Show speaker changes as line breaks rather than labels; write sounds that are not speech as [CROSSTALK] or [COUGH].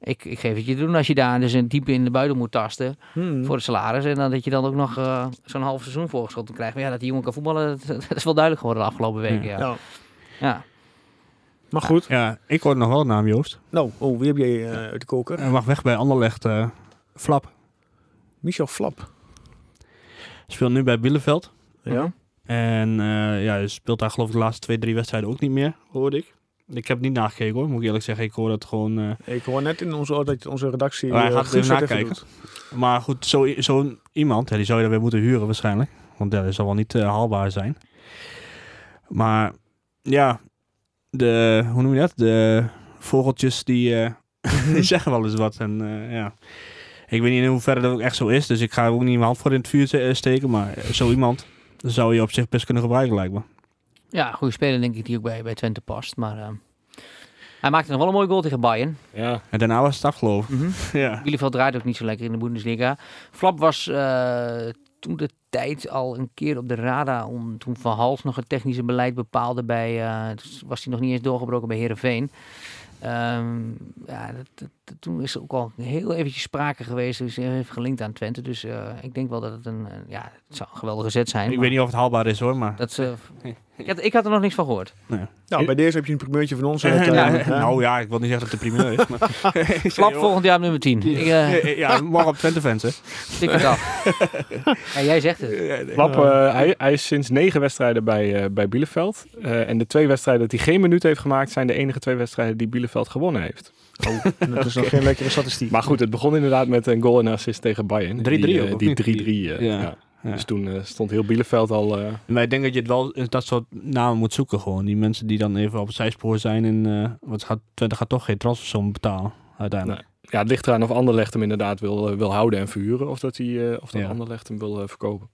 Ik, ik geef het je te doen als je daar dus een diep in de buidel moet tasten
Hmm.
voor het salaris. En dan dat je dan ook nog eh, zo'n half seizoen voorgeschoten krijgt. Maar ja, dat die jongen kan voetballen, dat, dat is wel duidelijk geworden de afgelopen weken. Ja. Ja.
Ja. Maar goed.
Ja, ik hoor nog wel een naam, Joost.
Nou, oh, wie heb jij eh, uit de koker?
Hij mag weg bij Anderlecht. eh, Flap.
Michel Flap.
Speelt nu bij Bielefeld.
Ja.
En eh, ja, hij speelt daar geloof ik de laatste twee, drie wedstrijden ook niet meer, hoorde ik. Ik heb niet nagekeken hoor, moet ik eerlijk zeggen. Ik hoor dat gewoon... eh,
Ik hoor net in onze, dat onze redactie
Wij
eh,
gaan
Guus
even
dat even
nakijken.
doet.
Maar goed, zo- zo'n iemand, hè, die zou je dan weer moeten huren waarschijnlijk. Want dat zal wel niet eh, haalbaar zijn. Maar ja, de, hoe noem je dat? De vogeltjes die, eh, [LAUGHS] die zeggen wel eens wat. En eh, ja, ik weet niet in hoeverre dat ook echt zo is. Dus ik ga er ook niet mijn hand voor in het vuur eh, steken. Maar zo iemand zou je op zich best kunnen gebruiken, lijkt me.
goede speler denk ik die ook bij, bij Twente past. Maar eh, hij maakte nog wel een mooi goal tegen Bayern.
Ja.
En daarna was het afgelopen.
Mhm.
[LAUGHS] ja.
Bielefeld draait ook niet zo lekker in de Bundesliga. Flap was eh, toen de tijd al een keer op de radar. Om, toen Van Hals nog het technische beleid bepaalde bij... eh, dus was hij nog niet eens doorgebroken bij Heerenveen. Ehm, ja, dat, dat- dat- toen is er ook al heel eventjes sprake geweest. Dus hij heeft gelinkt aan Twente. Dus eh, ik denk wel dat het een... eh, ja, het zou een geweldige zet zijn.
Ik
maar
weet niet of het haalbaar is hoor, maar...
Dat ze,
[LAUGHS]
ik, had, ik had er nog niks van gehoord.
Nou, bij deze heb je een primeurtje van ons. uit, eh,
Nou,
ja.
nou [LAUGHS] ja, ik wil niet zeggen dat het de primeur is, maar...
Flap volgend jaar op nummer 10. Ik eh,
[LAUGHS] ja, morgen op Twente fans, hè.
tik het af.
[LAUGHS]
Ja, jij zegt het.
Flap, eh, hij, hij is sinds negen wedstrijden bij, eh bij Bielefeld. Eh, en de twee wedstrijden dat hij geen minuut heeft gemaakt... zijn de enige twee wedstrijden die Bielefeld gewonnen heeft.
[LAUGHS] Dat is nog geen lekkere statistiek.
Maar goed, het begon inderdaad met een goal en een assist tegen Bayern.
3-3
Die, eh,
ook, of
Die
niet?
3-3, eh,
Ja.
ja.
Ja.
Dus toen eh, stond heel Bielefeld al... eh,
Maar ik denk dat je het wel eh, dat soort namen moet zoeken gewoon. Die mensen die dan even op het zijspoor zijn en eh want gaat, Twente gaat toch geen transfersom betalen uiteindelijk.
ja, het ligt eraan of Anderlecht hem inderdaad wil, eh, wil houden en verhuren. Of dat, hij, eh, of dat
Ja.
Anderlecht hem wil eh, verkopen.